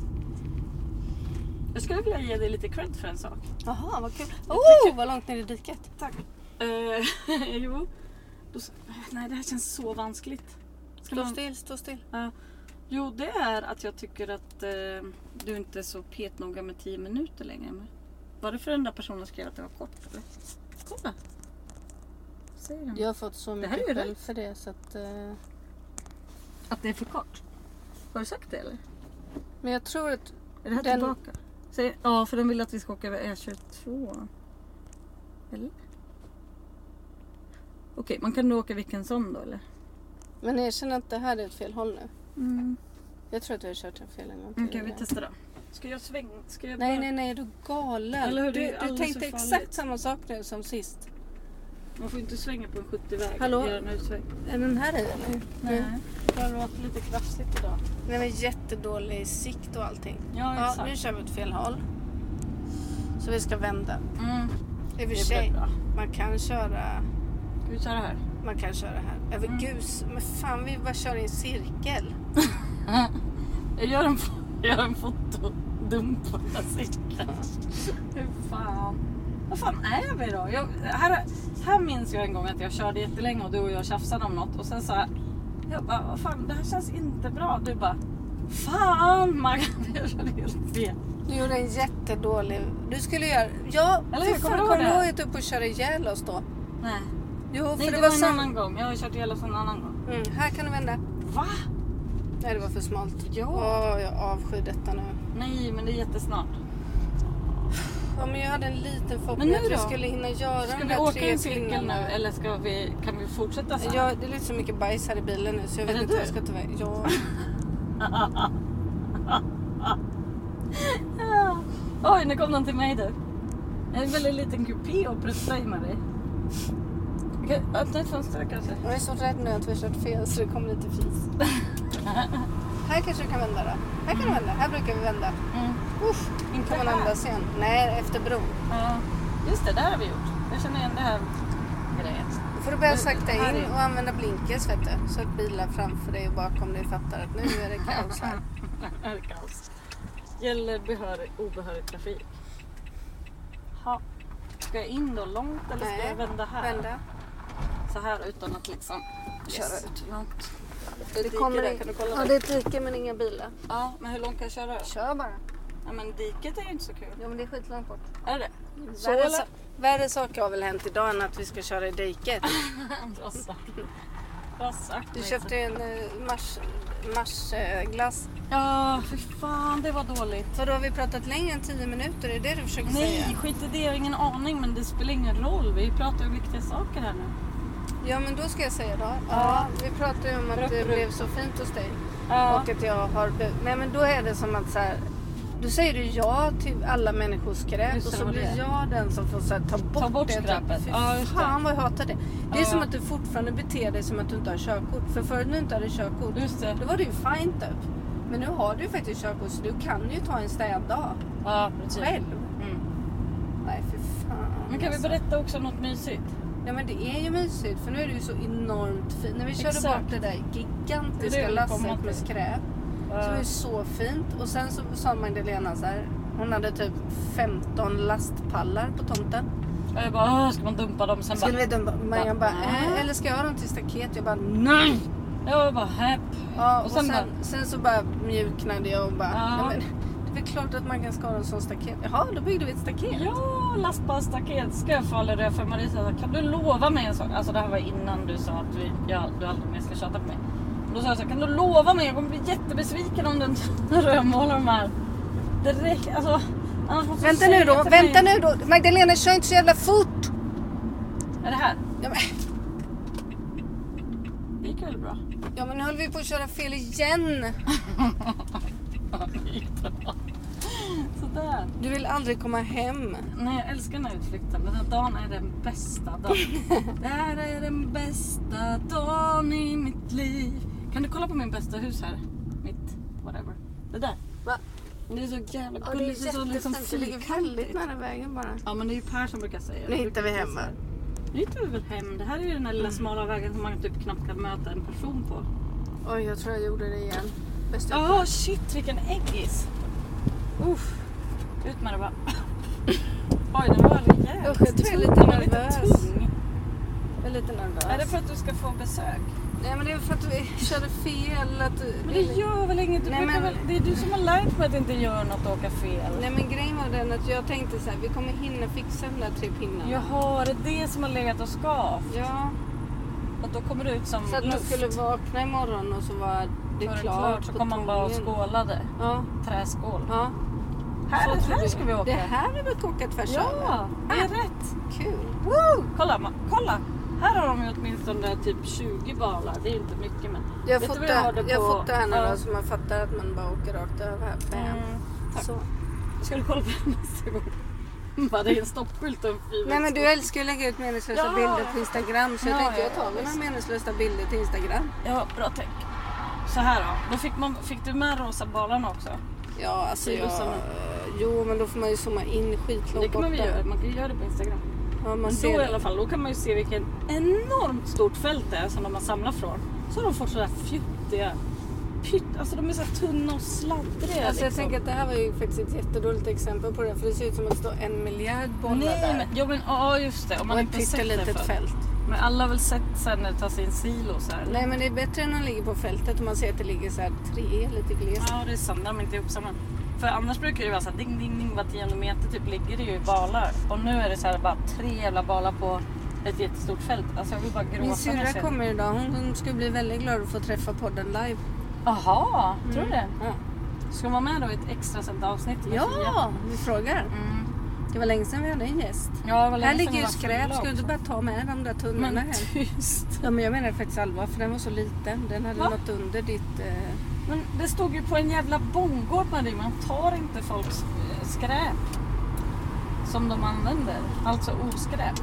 [SPEAKER 1] Jag skulle vilja ge dig lite cred för en sak.
[SPEAKER 2] Jaha, vad kul. Oh, vad långt ner i diket.
[SPEAKER 1] Tack. Eh, jo. Då, s- nej, det här känns så vanskligt. Ska
[SPEAKER 2] Stå
[SPEAKER 1] man-
[SPEAKER 2] still, stå still.
[SPEAKER 1] Ja. Jo, det är att jag tycker att eh, du inte är så petnoga med 10 minuter längre. Men Var det för den där personen skrev att det var kort eller? Kolla! Säger den?
[SPEAKER 2] Jag har fått så
[SPEAKER 1] Mm. här är
[SPEAKER 2] mycket
[SPEAKER 1] ju
[SPEAKER 2] skäll för det så att... eh,
[SPEAKER 1] Att det är för kort? Har du sagt det eller?
[SPEAKER 2] Men jag tror att...
[SPEAKER 1] Är det här
[SPEAKER 2] Den-
[SPEAKER 1] tillbaka? Säger... Ja, för den vill att vi ska åka över E22. Eller? Okej, man kan då åka vilken som då eller?
[SPEAKER 2] Men erkänn att det här är åt fel håll nu.
[SPEAKER 1] Mm.
[SPEAKER 2] Jag tror att vi har kört den fel en gång
[SPEAKER 1] Okej, vi
[SPEAKER 2] innan.
[SPEAKER 1] testar då. Ska jag svänga? Ska jag
[SPEAKER 2] Nej,
[SPEAKER 1] bara-
[SPEAKER 2] nej, nej, är du galen?
[SPEAKER 1] Eller hur, det är
[SPEAKER 2] du du
[SPEAKER 1] alldeles
[SPEAKER 2] tänkte
[SPEAKER 1] för farligt.
[SPEAKER 2] exakt samma sak nu som sist.
[SPEAKER 1] Man får inte svänga på en 70-väg.
[SPEAKER 2] Hallå?
[SPEAKER 1] Göra en utsväng.
[SPEAKER 2] Är den här i eller?
[SPEAKER 1] Nej. Det har varit lite kraftigt idag.
[SPEAKER 2] Den är jättedålig sikt och allting.
[SPEAKER 1] Ja,
[SPEAKER 2] Ja,
[SPEAKER 1] exakt.
[SPEAKER 2] nu kör vi åt fel håll. Så vi ska vända.
[SPEAKER 1] Mm.
[SPEAKER 2] I och för
[SPEAKER 1] Det
[SPEAKER 2] sig,
[SPEAKER 1] blir bra.
[SPEAKER 2] man kan köra...
[SPEAKER 1] Ska vi köra här?
[SPEAKER 2] Man kan köra här. Över
[SPEAKER 1] Mm.
[SPEAKER 2] gus. Men fan, vi bara kör i en cirkel.
[SPEAKER 1] Jag gör en, fo- jag gör en fotodump på den här cykeln. Hur fan. Vad fan är vi då? Jag, här, här minns jag en gång att jag körde jättelänge och du och jag tjafsade om något och sen så här, jag bara, vad fan det här känns inte bra. Du bara, fan Maggan, jag körde helt fel.
[SPEAKER 2] Du gjorde en jättedålig... Du skulle göra... Ja,
[SPEAKER 1] Eller
[SPEAKER 2] för
[SPEAKER 1] hur?
[SPEAKER 2] fan,
[SPEAKER 1] Kommer du
[SPEAKER 2] kommer
[SPEAKER 1] ihåg
[SPEAKER 2] du ihåg
[SPEAKER 1] det?
[SPEAKER 2] att du på köra ihjäl oss då?
[SPEAKER 1] Nej,
[SPEAKER 2] Jo, för
[SPEAKER 1] Nej det
[SPEAKER 2] det, var,
[SPEAKER 1] var en
[SPEAKER 2] samma...
[SPEAKER 1] annan gång. Jag har kört ihjäl oss en annan gång.
[SPEAKER 2] Mm, här kan du vända.
[SPEAKER 1] Va?
[SPEAKER 2] Nej, det var för smalt.
[SPEAKER 1] Ja.
[SPEAKER 2] Åh, jag avskyr detta nu.
[SPEAKER 1] Nej men det är jättesnart.
[SPEAKER 2] Ja, men jag hade en liten
[SPEAKER 1] Men
[SPEAKER 2] förhoppning
[SPEAKER 1] nu
[SPEAKER 2] att vi
[SPEAKER 1] då?
[SPEAKER 2] skulle hinna göra
[SPEAKER 1] Ska
[SPEAKER 2] de
[SPEAKER 1] vi
[SPEAKER 2] här
[SPEAKER 1] åka
[SPEAKER 2] tre
[SPEAKER 1] en cirkel nu
[SPEAKER 2] pinnarna.
[SPEAKER 1] eller ska vi, kan vi fortsätta så här?
[SPEAKER 2] Ja, det är lite så mycket bajs här i bilen nu så jag
[SPEAKER 1] Är
[SPEAKER 2] vet
[SPEAKER 1] det
[SPEAKER 2] inte
[SPEAKER 1] du?
[SPEAKER 2] vad jag ska ta vägen. Ja.
[SPEAKER 1] Ja. Oj, nu kom den till mig du. Det är en väldigt liten kupé att prutta i med dig. Okej, Öppna ett fönster kanske.
[SPEAKER 2] Jag är så rädd nu att vi har kört fel så det kommer lite fis. här kanske du kan vända då. Här kan du vända. Här brukar vi vända.
[SPEAKER 1] Mm.
[SPEAKER 2] Uff,
[SPEAKER 1] Inte
[SPEAKER 2] kan man
[SPEAKER 1] här.
[SPEAKER 2] andas igen? Nej, efter bron.
[SPEAKER 1] Ja. Just det, där har vi gjort. Jag känner igen det här grejen.
[SPEAKER 2] Då får du börja
[SPEAKER 1] Men,
[SPEAKER 2] sakta
[SPEAKER 1] här
[SPEAKER 2] in
[SPEAKER 1] är-
[SPEAKER 2] och använda blinkers vet du. Så att bilar framför dig och bakom dig fattar att nu är det kaos här.
[SPEAKER 1] Det är kaos. Gäller behörig, obehörig trafik. Ha. Ska jag in då långt eller ska
[SPEAKER 2] Nej,
[SPEAKER 1] jag vända här?
[SPEAKER 2] Vända.
[SPEAKER 1] Så här utan att liksom köra ut långt. Det,
[SPEAKER 2] Det kommer
[SPEAKER 1] där,
[SPEAKER 2] in-
[SPEAKER 1] kan du kolla?
[SPEAKER 2] Ja,
[SPEAKER 1] där?
[SPEAKER 2] det är ett dike men inga bilar.
[SPEAKER 1] ja, men hur långt kan jag köra? då?
[SPEAKER 2] Kör bara.
[SPEAKER 1] Ja, men diket är ju inte så kul.
[SPEAKER 2] Jo men det är skitlångt bort.
[SPEAKER 1] Är det? Så
[SPEAKER 2] Värre,
[SPEAKER 1] eller?
[SPEAKER 2] sa- värre saker har väl hänt idag än att vi ska köra i diket.
[SPEAKER 1] Bra sagt. Bra sagt.
[SPEAKER 2] Du
[SPEAKER 1] Lisa.
[SPEAKER 2] köpte ju en eh, mars, marsglass.
[SPEAKER 1] Ja, fy fan det var dåligt.
[SPEAKER 2] Vadå, har vi pratat längre än 10 minuter? Är det det du försöker
[SPEAKER 1] Nej,
[SPEAKER 2] säga?
[SPEAKER 1] skit i det. Jag har ingen aning, men det spelar ingen roll. Vi pratar ju om viktiga saker här nu.
[SPEAKER 2] Ja, men då ska jag säga då. Ja,
[SPEAKER 1] Ja.
[SPEAKER 2] vi pratade ju om att
[SPEAKER 1] Rupp,
[SPEAKER 2] det
[SPEAKER 1] rupp.
[SPEAKER 2] blev så fint hos dig.
[SPEAKER 1] Ja.
[SPEAKER 2] Och att jag har... Be- Nej, men då är det som att så här... Då säger du ja till alla människors skräp och
[SPEAKER 1] Just det,
[SPEAKER 2] så
[SPEAKER 1] vad
[SPEAKER 2] blir
[SPEAKER 1] det är.
[SPEAKER 2] jag den som får så här, ta bort,
[SPEAKER 1] bort
[SPEAKER 2] det. typ.
[SPEAKER 1] skräpet.
[SPEAKER 2] Fy
[SPEAKER 1] Ja, just det.
[SPEAKER 2] fan vad jag hatar det. Det är
[SPEAKER 1] Ja.
[SPEAKER 2] som att du fortfarande beter dig som att du inte har körkort. För förut när du inte hade körkort,
[SPEAKER 1] Just det.
[SPEAKER 2] då var det ju fint typ. Men nu har du ju faktiskt körkort så du kan ju ta en städdag
[SPEAKER 1] Ja, precis.
[SPEAKER 2] själv.
[SPEAKER 1] Mm.
[SPEAKER 2] Nej, för fan.
[SPEAKER 1] Men kan vi
[SPEAKER 2] alltså.
[SPEAKER 1] berätta också något mysigt?
[SPEAKER 2] Nej, men det är ju mysigt för nu är det ju så enormt fint. När vi körde
[SPEAKER 1] Exakt.
[SPEAKER 2] bort det där
[SPEAKER 1] Det är det
[SPEAKER 2] gigantiska
[SPEAKER 1] jag vill komma
[SPEAKER 2] lasset med
[SPEAKER 1] till.
[SPEAKER 2] skräp så var det så fint. Och sen så sa Magdalena så här, hon hade typ 15 lastpallar på tomten.
[SPEAKER 1] Och jag bara, "Åh, ska man dumpa dem? Sen
[SPEAKER 2] Skulle
[SPEAKER 1] bara,
[SPEAKER 2] vi dumpa? Men jag bara, äh, eller ska jag ha dem till staket? Jag bara, nej!
[SPEAKER 1] jag bara, häpp.
[SPEAKER 2] Ja, och
[SPEAKER 1] Och
[SPEAKER 2] sen,
[SPEAKER 1] sen
[SPEAKER 2] sen, så bara mjuknade jag och bara,
[SPEAKER 1] Ja.
[SPEAKER 2] nej, men, det är väl klart att man kan ska ha dem som staket. Jaha, då byggde vi ett staket.
[SPEAKER 1] Ja, lastbilsstaket. Ska jag få aldrig det för Marie sa, kan du lova mig en sak? Alltså det här var innan du sa att vi, ja, du aldrig mer ska tjata på mig. Och då sa jag så här, kan du lova mig? Jag kommer bli jättebesviken om du inte rödmålar de här. Det räcker, alltså. annars måste du
[SPEAKER 2] Vänta
[SPEAKER 1] säga
[SPEAKER 2] nu då,
[SPEAKER 1] till mig-
[SPEAKER 2] vänta nu då. Magdalena kör inte så jävla fort.
[SPEAKER 1] Är det här?
[SPEAKER 2] Ja, men,
[SPEAKER 1] Det gick väl bra?
[SPEAKER 2] ja men nu höll vi på att köra fel igen.
[SPEAKER 1] Ja, det gick bra. Sådär.
[SPEAKER 2] Du vill aldrig komma hem.
[SPEAKER 1] Nej, jag älskar den här utflykten. Den här dagen är den bästa dagen. det här är den bästa dagen i mitt liv. Kan du kolla på min bästa hus här? Mitt whatever. Det där.
[SPEAKER 2] Va?
[SPEAKER 1] Det är så jävla gulligt. det är så liksom fyrkantigt.
[SPEAKER 2] nära vägen bara.
[SPEAKER 1] Ja men det är ju Per som brukar säga det.
[SPEAKER 2] Nu hittar vi
[SPEAKER 1] Brukar
[SPEAKER 2] hem, Mm.
[SPEAKER 1] säga. Nu hittar vi väl hem. Det här är ju den här lilla smala vägen som man typ knappt kan möta en person på.
[SPEAKER 2] Oj, jag tror jag gjorde det igen. Bäst jag-
[SPEAKER 1] Ja shit vilken äggis. Uff. Ut med det bara. Oj den var rejäl.
[SPEAKER 2] Usch, jag tror jag är lite
[SPEAKER 1] Den var lite
[SPEAKER 2] nervös.
[SPEAKER 1] tung.
[SPEAKER 2] Jag är lite nervös.
[SPEAKER 1] Är det för att du ska få besök?
[SPEAKER 2] Nej men det är för att vi körde fel. Att du,
[SPEAKER 1] Men det gör väl inget? Du
[SPEAKER 2] Nej,
[SPEAKER 1] brukar
[SPEAKER 2] men-
[SPEAKER 1] väl, det är du som har lärt mig att inte göra något och åka fel.
[SPEAKER 2] Nej men grejen var den att jag tänkte så här, vi kommer hinna fixa de där tre pinnarna.
[SPEAKER 1] Jaha, det är det som har legat och skav.
[SPEAKER 2] Ja,
[SPEAKER 1] Och då kommer det ut som
[SPEAKER 2] så att man
[SPEAKER 1] luft.
[SPEAKER 2] skulle vakna imorgon och så var det
[SPEAKER 1] Då
[SPEAKER 2] klart,
[SPEAKER 1] är klart så
[SPEAKER 2] på
[SPEAKER 1] kom man bara och
[SPEAKER 2] tången.
[SPEAKER 1] skålade.
[SPEAKER 2] Ja,
[SPEAKER 1] Träskål.
[SPEAKER 2] ja.
[SPEAKER 1] Här,
[SPEAKER 2] Så tror
[SPEAKER 1] här
[SPEAKER 2] vi.
[SPEAKER 1] ska vi åka.
[SPEAKER 2] Det här vi brukar åka tvärs över.
[SPEAKER 1] Ja, det är rätt.
[SPEAKER 2] Kul.
[SPEAKER 1] Woo! Kolla, ma- kolla! Här har de ju åtminstone typ 20 balar. Det är ju inte mycket men.
[SPEAKER 2] Jag
[SPEAKER 1] Vet du vad jag
[SPEAKER 2] fotar,
[SPEAKER 1] hörde
[SPEAKER 2] jag
[SPEAKER 1] på-
[SPEAKER 2] fotar henne
[SPEAKER 1] Ja.
[SPEAKER 2] då så man fattar att man bara åker rakt över här. Bam.
[SPEAKER 1] Mm, tack.
[SPEAKER 2] Så.
[SPEAKER 1] Ska du kolla på den nästa gång? Bara det är en stoppskylt och en fyrvägsskål.
[SPEAKER 2] Nej men du älskar ju att lägga ut meningslösa
[SPEAKER 1] Ja.
[SPEAKER 2] bilder på Instagram så jag
[SPEAKER 1] Ja,
[SPEAKER 2] tänkte
[SPEAKER 1] ja,
[SPEAKER 2] jag tar
[SPEAKER 1] ja,
[SPEAKER 2] väl några
[SPEAKER 1] visst.
[SPEAKER 2] meningslösa bilder till Instagram.
[SPEAKER 1] Ja, bra tänk. Så här då. då fick, man, fick du med rosa balarna också?
[SPEAKER 2] Ja alltså
[SPEAKER 1] Kilo
[SPEAKER 2] jag...
[SPEAKER 1] samma.
[SPEAKER 2] Jo men då får man ju zooma in skitlångt
[SPEAKER 1] Det kan man
[SPEAKER 2] borta.
[SPEAKER 1] väl göra. Man kan ju göra det på Instagram.
[SPEAKER 2] Ja, man
[SPEAKER 1] Men då
[SPEAKER 2] ser
[SPEAKER 1] i
[SPEAKER 2] det.
[SPEAKER 1] alla fall, då kan man ju se vilket enormt stort fält det är som de har samlat från. Så har de fått sådär fjuttiga, pytt, alltså de är så här tunna och sladdriga.
[SPEAKER 2] Alltså
[SPEAKER 1] liksom.
[SPEAKER 2] jag tänker att det här var ju faktiskt ett jättedåligt exempel på det för det ser ut som att det står en miljard bollar
[SPEAKER 1] Nej,
[SPEAKER 2] där.
[SPEAKER 1] men, ja, men ja, just det. Om man
[SPEAKER 2] och ett
[SPEAKER 1] inte har sett det
[SPEAKER 2] pyttelitet
[SPEAKER 1] förut.
[SPEAKER 2] fält.
[SPEAKER 1] Men alla har väl sett sen när det tas in silos här? eller?
[SPEAKER 2] Nej men det är bättre än att ligga på fältet och man ser att det ligger så här tre lite glest.
[SPEAKER 1] Ja, det är sant. De är inte ihopsamlade. För annars brukar det vara så här ding, ding, ding var tionde meter typ ligger det ju i balar. Och nu är det så här bara tre jävla balar på ett jättestort fält. Alltså jag vill bara gråta. när
[SPEAKER 2] Min
[SPEAKER 1] jag
[SPEAKER 2] syrra
[SPEAKER 1] ser det.
[SPEAKER 2] kommer idag. Hon, hon skulle bli väldigt glad att få träffa podden live.
[SPEAKER 1] Jaha, tror du det?
[SPEAKER 2] Ja,
[SPEAKER 1] Ska hon vara med då i ett extrasänt avsnitt? med Fia?
[SPEAKER 2] Mm. ja vi frågar.
[SPEAKER 1] Mm.
[SPEAKER 2] Det var länge sedan vi hade en gäst.
[SPEAKER 1] Ja, det var länge
[SPEAKER 2] Här
[SPEAKER 1] sedan
[SPEAKER 2] ligger
[SPEAKER 1] vi
[SPEAKER 2] ju
[SPEAKER 1] var
[SPEAKER 2] skräp.
[SPEAKER 1] fulla
[SPEAKER 2] Ska du inte
[SPEAKER 1] också.
[SPEAKER 2] bara ta med de där tunnorna
[SPEAKER 1] Men
[SPEAKER 2] hem?
[SPEAKER 1] tyst.
[SPEAKER 2] Ja, men jag menar faktiskt allvar för den var så liten. Den hade
[SPEAKER 1] Va?
[SPEAKER 2] något under ditt... Eh...
[SPEAKER 1] Men det stod ju på en jävla bondgård Marie, man tar inte folks eh, skräp som de använder. Alltså oskräp.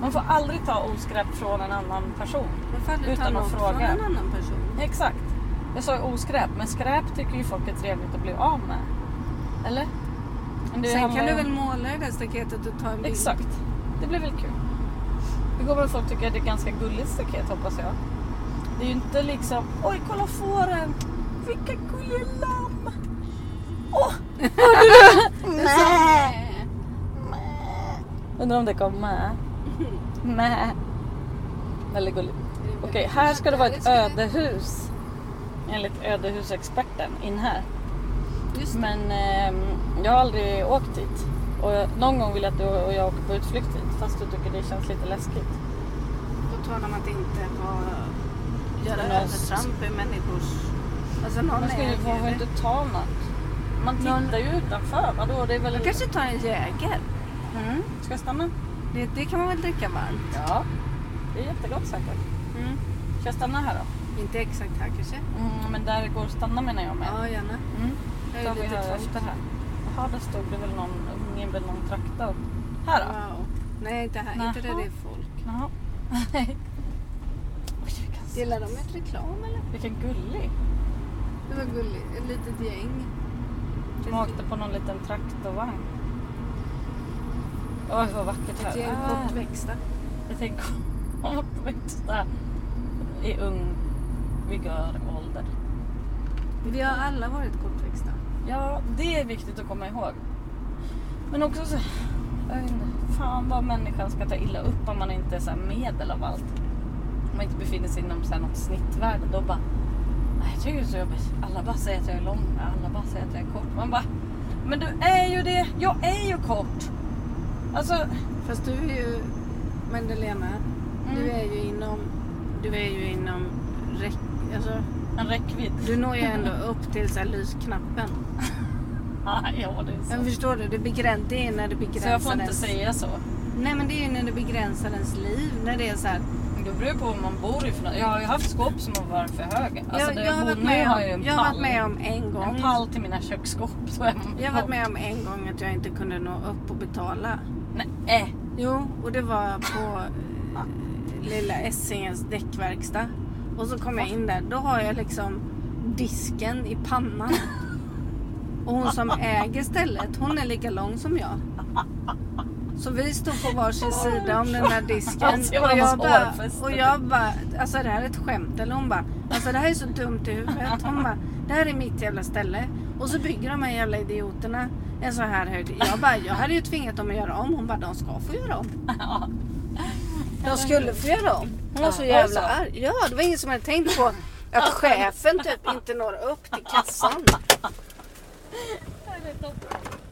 [SPEAKER 1] Man får aldrig ta oskräp från en annan person.
[SPEAKER 2] Varför hade du
[SPEAKER 1] Utan
[SPEAKER 2] tagit
[SPEAKER 1] att
[SPEAKER 2] något från
[SPEAKER 1] fråga.
[SPEAKER 2] en annan person?
[SPEAKER 1] Exakt. Jag sa ju oskräp, men skräp tycker ju folk är trevligt att bli av med. Eller? Men det
[SPEAKER 2] Sen
[SPEAKER 1] handlar
[SPEAKER 2] kan
[SPEAKER 1] ju
[SPEAKER 2] du
[SPEAKER 1] om-
[SPEAKER 2] väl måla i det där staketet och ta en bild?
[SPEAKER 1] Exakt. Det blir väl kul. Det kommer att folk tycker att det är ett ganska gulligt staket hoppas jag. Det är ju inte liksom, oj kolla fåren, vilka gulliga lamm. Åh,
[SPEAKER 2] Mm.
[SPEAKER 1] hörde du det? Nej. Undrar om det kom med. Med. Väldigt gulligt. Okej, här ska det vara ett ödehus. Enligt ödehusexperten in här.
[SPEAKER 2] Just det.
[SPEAKER 1] Men ehm, jag har aldrig åkt dit. Och jag, någon gång vill jag att du och jag åker på utflykt dit. Fast du tycker det känns lite läskigt.
[SPEAKER 2] På tal om att inte vara... Göra
[SPEAKER 1] Någon-
[SPEAKER 2] övertramp i människors... Alltså någon
[SPEAKER 1] Man ska ju man får
[SPEAKER 2] äger
[SPEAKER 1] inte
[SPEAKER 2] det.
[SPEAKER 1] ta något. Man tittar
[SPEAKER 2] Någon-
[SPEAKER 1] ju utanför. Vadå? Det är väl...
[SPEAKER 2] Man kanske tar en jäger.
[SPEAKER 1] Mm. Ska jag stanna?
[SPEAKER 2] Det, det kan man väl dricka varmt?
[SPEAKER 1] Ja. Det är jättegott säkert. Ska jag stanna här då?
[SPEAKER 2] Mm. Inte exakt här kanske?
[SPEAKER 1] Mm, men där går att stanna menar jag med.
[SPEAKER 2] Ja, gärna.
[SPEAKER 1] Mm.
[SPEAKER 2] Jag
[SPEAKER 1] Då
[SPEAKER 2] är
[SPEAKER 1] har vi
[SPEAKER 2] lite
[SPEAKER 1] här
[SPEAKER 2] trött.
[SPEAKER 1] efter här. Jaha, där stod det väl någon unge vid någon traktor. Här då?
[SPEAKER 2] Wow. Nej, inte här. Inte där det är folk.
[SPEAKER 1] Jaha. Nej. Oj, vilken,
[SPEAKER 2] Gillar de ett reklam eller?
[SPEAKER 1] vilken gullig.
[SPEAKER 2] Det var gulligt. Ett litet gäng.
[SPEAKER 1] De åkte på någon liten traktorvagn. Oj, vad vackert
[SPEAKER 2] Ett
[SPEAKER 1] här
[SPEAKER 2] gäng
[SPEAKER 1] är.
[SPEAKER 2] kortväxta.
[SPEAKER 1] Jag tänker kortväxta i ung vigör ålder.
[SPEAKER 2] Vi har alla varit kortväxta.
[SPEAKER 1] Ja, det är viktigt att komma ihåg. Men också så... Jag vet inte, fan vad människan ska ta illa upp om man inte är så här medel av allt. Om man inte befinner sig inom så här något snittvärde. Då bara... Nej, jag tycker det är så jobbigt. Alla bara säger att jag är lång. Alla bara säger att jag är kort. Man bara... Men du är ju det. Jag är ju kort. Alltså...
[SPEAKER 2] Fast du är ju... Magdalena, du
[SPEAKER 1] mm,
[SPEAKER 2] är ju inom... Du är ju inom räck... Alltså,
[SPEAKER 1] En räckvidd.
[SPEAKER 2] du når ju ändå upp till så här lysknappen.
[SPEAKER 1] Nej, ja, det är
[SPEAKER 2] Men
[SPEAKER 1] så.
[SPEAKER 2] förstår du? Det, begräns, det är när det begränsar
[SPEAKER 1] Alltså. så jag får inte
[SPEAKER 2] ens-
[SPEAKER 1] säga så.
[SPEAKER 2] Nej men det är ju när det begränsar ens liv. När det är så här...
[SPEAKER 1] Det beror på vad man bor i för något. Jag har ju haft skåp som har varit för höga. Alltså,
[SPEAKER 2] jag,
[SPEAKER 1] där
[SPEAKER 2] jag, har
[SPEAKER 1] bor
[SPEAKER 2] varit
[SPEAKER 1] nu
[SPEAKER 2] med
[SPEAKER 1] har jag ju en
[SPEAKER 2] om, jag har varit
[SPEAKER 1] pall.
[SPEAKER 2] med om en gång.
[SPEAKER 1] En pall till mina köksskåp. Så är man
[SPEAKER 2] Jag har varit med om en gång att jag inte kunde nå upp och betala.
[SPEAKER 1] Nej, äh.
[SPEAKER 2] Jo, och det var på eh, lilla Essingens däckverkstad. Och så kom jag in där. Då har jag liksom disken i pannan. Och hon som äger stället, hon är lika lång som jag. Så vi stod på varsin sida om den där disken.
[SPEAKER 1] Alltså, jag var
[SPEAKER 2] och, jag
[SPEAKER 1] hennes
[SPEAKER 2] bara,
[SPEAKER 1] hårfäste.
[SPEAKER 2] och jag bara, alltså det här är ett skämt. Eller hon bara, alltså det här är så dumt i huvudet. Hon bara, det här är mitt jävla ställe. Och så bygger de här jävla idioterna en så här hög. Jag bara, jag hade ju tvingat dem att göra om. Hon bara, de ska få göra om. De skulle få göra om. Hon var så
[SPEAKER 1] Ja,
[SPEAKER 2] jävla
[SPEAKER 1] alltså.
[SPEAKER 2] arg. Ja, det var ingen som hade tänkt på att chefen typ inte når upp till kassan.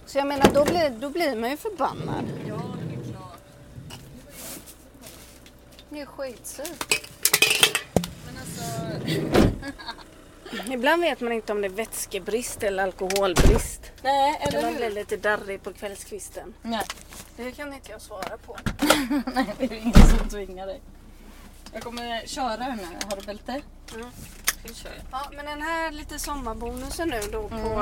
[SPEAKER 2] Så jag menar, då blir, då blir man ju förbannad.
[SPEAKER 1] Ja, det är klart.
[SPEAKER 2] Det är skitsur.
[SPEAKER 1] Men alltså,
[SPEAKER 2] Ibland vet man inte om det är vätskebrist eller alkoholbrist.
[SPEAKER 1] nej,
[SPEAKER 2] Eller
[SPEAKER 1] eller
[SPEAKER 2] man
[SPEAKER 1] hur?
[SPEAKER 2] blir lite darrig på kvällskvisten.
[SPEAKER 1] Nej,
[SPEAKER 2] Det kan inte jag svara på.
[SPEAKER 1] nej, det är ingen som tvingar dig. Jag kommer köra den nu. Har du bälte?
[SPEAKER 2] Mm.
[SPEAKER 1] Då kör jag.
[SPEAKER 2] Ja, men den här lite sommarbonusen nu då på...
[SPEAKER 1] Mm.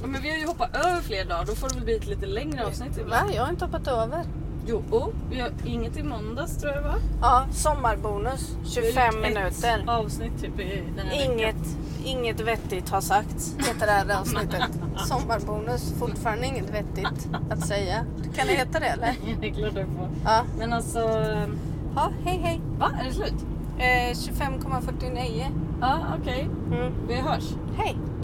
[SPEAKER 1] Ja, men vi har ju hoppat över fler dagar. Då får det väl bli ett lite längre avsnitt ibland.
[SPEAKER 2] Va? Jag har inte hoppat över.
[SPEAKER 1] Jo, Oh, vi har inget i måndags tror jag va?
[SPEAKER 2] Ja, sommarbonus. 25
[SPEAKER 1] Ett
[SPEAKER 2] minuter.
[SPEAKER 1] avsnitt typ i den här
[SPEAKER 2] Inget, inget vettigt har sagts. Heter det här avsnittet. Sommarbonus. Fortfarande inget vettigt att säga. Kan det heta det eller?
[SPEAKER 1] veckan. Det är klart du får.
[SPEAKER 2] Ja.
[SPEAKER 1] Men alltså,
[SPEAKER 2] Ja, hej hej.
[SPEAKER 1] va? Är det slut?
[SPEAKER 2] Eh, 25,49.
[SPEAKER 1] Ja, okej.
[SPEAKER 2] Mm.
[SPEAKER 1] Vi hörs.
[SPEAKER 2] Hej.